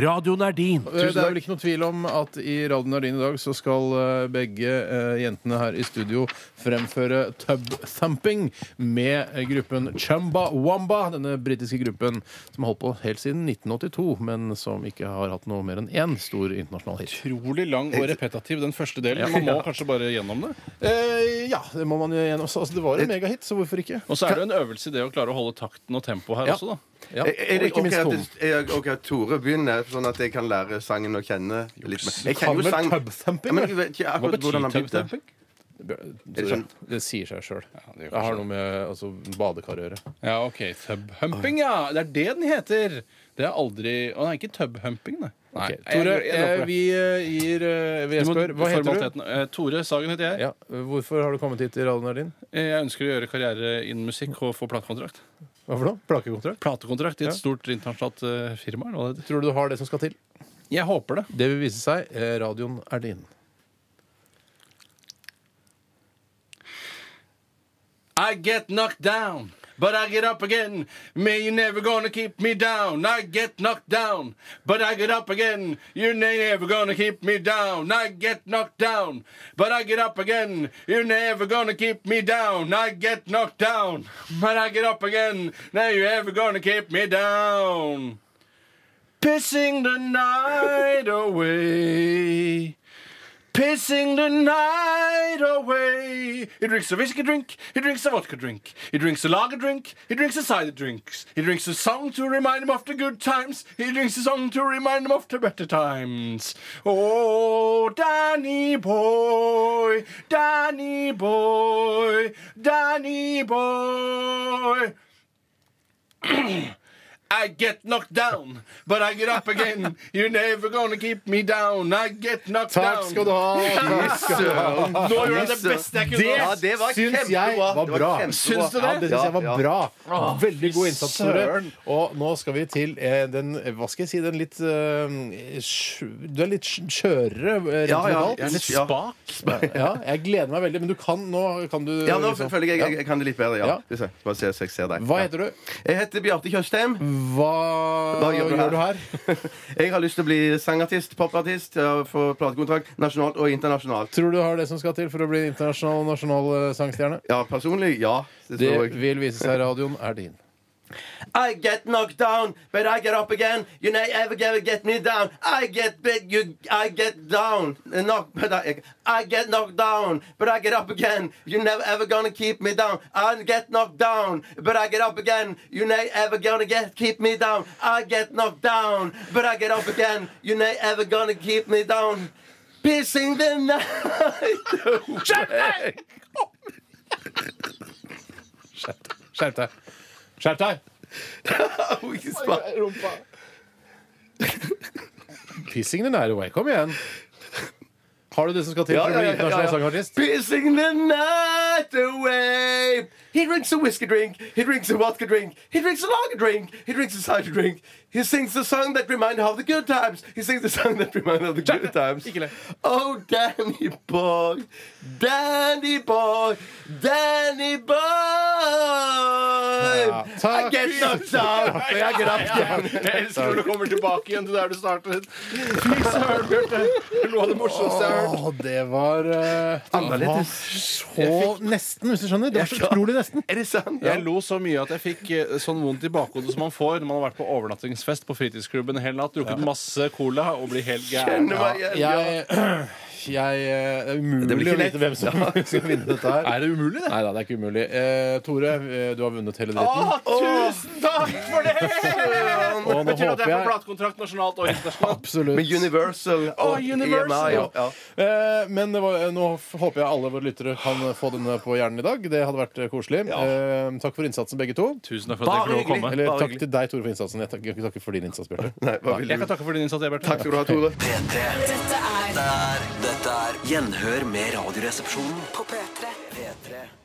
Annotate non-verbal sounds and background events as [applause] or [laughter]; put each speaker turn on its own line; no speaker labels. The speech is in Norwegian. Radioen er din!
Eh, Det er vel ikke noe tvil om at i Radio Nardin i dag så skal eh, begge eh, jentene her i studio fremføre tub thumping med eh, gruppen Chumba Wamba, denne britiske gruppen som har holdt på helt siden 1982, men som ikke har hatt noe mer enn én stor internasjonal hit.
Utrolig lang og repetativ, den første delen. Man må kanskje bare gjennom det.
Eh, ja, det må man jo gjennom. Så, Altså, det var en megahit, så hvorfor ikke?
Og så er det jo en øvelse i det å klare å holde takten og tempoet her
Ja.
også, da.
Eh, Ja,
Er- er
og
det
ikke minst
ok at
tonen.
det- er det ok at Tore begynner, sånn at jeg kan lære sangen å kjenne litt mer? Jeg
Kan vel tub-thumping,
Ja, men jeg vet ikke
Hva
akkurat
betyr
hvordan han begynte.
tub-tapping?
Det, det sier seg sjøl.
det gjør
det, har noe med altså, badekar å gjøre.
Ja, OK. Tubhumping, ja. Det er det den heter. Det er aldri Å nei, ikke tubhumping, nei. nei.
Ok, Tore,
jeg- jeg dropper
eh,
det.
vi eh, gir eh, vi
Du må-
spør, Hva heter du?
formaliteten. Eh, Tore Sagen heter jeg.
Ja, hvorfor har du kommet hit til radioen her din?
Eh, Jeg ønsker å gjøre karriere innen musikk og få platekontrakt.
Hva for noe? Plakekontrakt?
Platekontrakt i
Ja.
et stort internasjonalt eh, firma. eller hva det heter.
Tror du du har det som skal til?
Jeg håper det.
Det vil vise seg. Eh, Radioen er din.
I get knocked down, but I get up again. Me, you never gonna keep me down. I get knocked down, but I get up again. You never gonna keep me down. I get knocked down, but I get up again. You never gonna keep me down. I get knocked down, but I get up again. Now you ever gonna keep me down. Pissing the night away. Pissing the night away. He drinks a whiskey drink, he drinks a vodka drink, he drinks a lager drink, he drinks a cider drinks. He drinks a song to remind him of the good times, he drinks a song to remind him of the better times. Oh, Danny boy, Danny boy, Danny boy. [clears throat] I get knocked down, but I get up again. You're never gonna keep me down. I get knocked down.
ha!
Søren!
Nå gjorde jeg det beste jeg kunne.
Ja, det var
Syns
kjempebra.
jeg var
Det var
bra.
kjempebra.
Syns du det?
Ja, det syns jeg var
Ja, ja.
bra. Veldig god innsats, Tore.
søren.
Og nå skal vi til eh, den Hva skal jeg si? Den litt eh, sj- Du er litt sj- skjørere eh, rent
Ja, ja,
lokalt.
jeg er litt
Ja.
spak.
[laughs] Ja, jeg gleder meg veldig. Men du kan nå kan du,
Ja, nå
liksom-
føler jeg jeg, jeg kan det litt bedre.
Ja.
Ja. Skal vi se. Bare se så jeg ser deg.
Hva heter du?
Jeg heter Bjarte Tjøstheim.
Hva,
Hva gjør du her?
her?
[laughs] Jeg har lyst til å bli sangartist, popartist, og få platekontrakt nasjonalt og internasjonalt.
Tror du har det som skal til for å bli internasjonal og nasjonal eh, sangstjerne?
Ja, personlig, ja. Det
Det
tror jeg.
vil vise seg. Radioen er din.
I get knocked down, but I get up again. You may ever get, get me down. I get bit, you, I get down. Uh, Knock, [laughs] but I, I get knocked down, but I get up again. You never ever gonna keep me down. I get knocked down, but I get up again. You may ever gonna get keep me down. I get knocked down, but I get up again. You may ever gonna keep me down. Pissing the [laughs] night away.
Skjerp deg. Skjerp deg!
Oh,
Pissing the night away. Kom igjen. Har du det som skal til
Ja,
for å
ja,
bli
ja, ja,
internasjonal
ja.
sangartist?
Pissing the night away. He drinks a whiskey drink. He drinks a vodka drink. He drinks a lager drink. He drinks a cider drink. He sings the song that reminds him of the good times. He sings the song that reminds him of the good times.
Ikke le.
Oh, Danny boy, Danny boy, Danny boy. I
takk.
[laughs]
get knocked down, but I get up again.
Jeg elsker når du kommer tilbake igjen til der du startet. Fy søren, Bjarte! Det var det morsomste jeg har hørt.
Å, det var eh, Det var så nesten, hvis du skjønner. Det var så utrolig nesten.
Er det sant?
Jeg lo så mye at jeg fikk eh, sånn vondt i bakhodet som man får når man har vært på overnattingsfest på fritidsklubben en hel natt, drukket masse cola og blir helt gæren.
Kjenner meg igjen, ja.
Jeg, jeg eh, Det er
Det
umulig å
blir ikke lett.
vite hvem som [laughs] skal vinne dette her.
Er det umulig, det?
Nei da, det er ikke umulig. Eh, Tore, eh, du har vunnet hele
Ah!
dritten.
Mm. tusen takk for det!
Og nå håper
Betyr at jeg får
jeg
platekontrakt nasjonalt og internasjonalt.
Absolutt.
Med Universal og
Universal,
EMI. Ja. Ja.
Eh, Men det var, nå f- håper jeg alle våre lyttere kan få denne på hjernen i dag. Det hadde vært eh, koselig. Eh, Takk for innsatsen, begge to.
Tusen takk for at jeg fikk lov å komme.
Eller
Bare
takk
hyggelig.
til deg, Tore, for innsatsen. Jeg takker jeg takker for din innsats, Bjarte.
Nei, hva vil
Jeg
du?
kan takke for din innsats, Bjarte.
Takk skal du ha, Tore.
P3
Dette er
er Dette er Gjenhør med Radioresepsjonen på
på P3.
P3.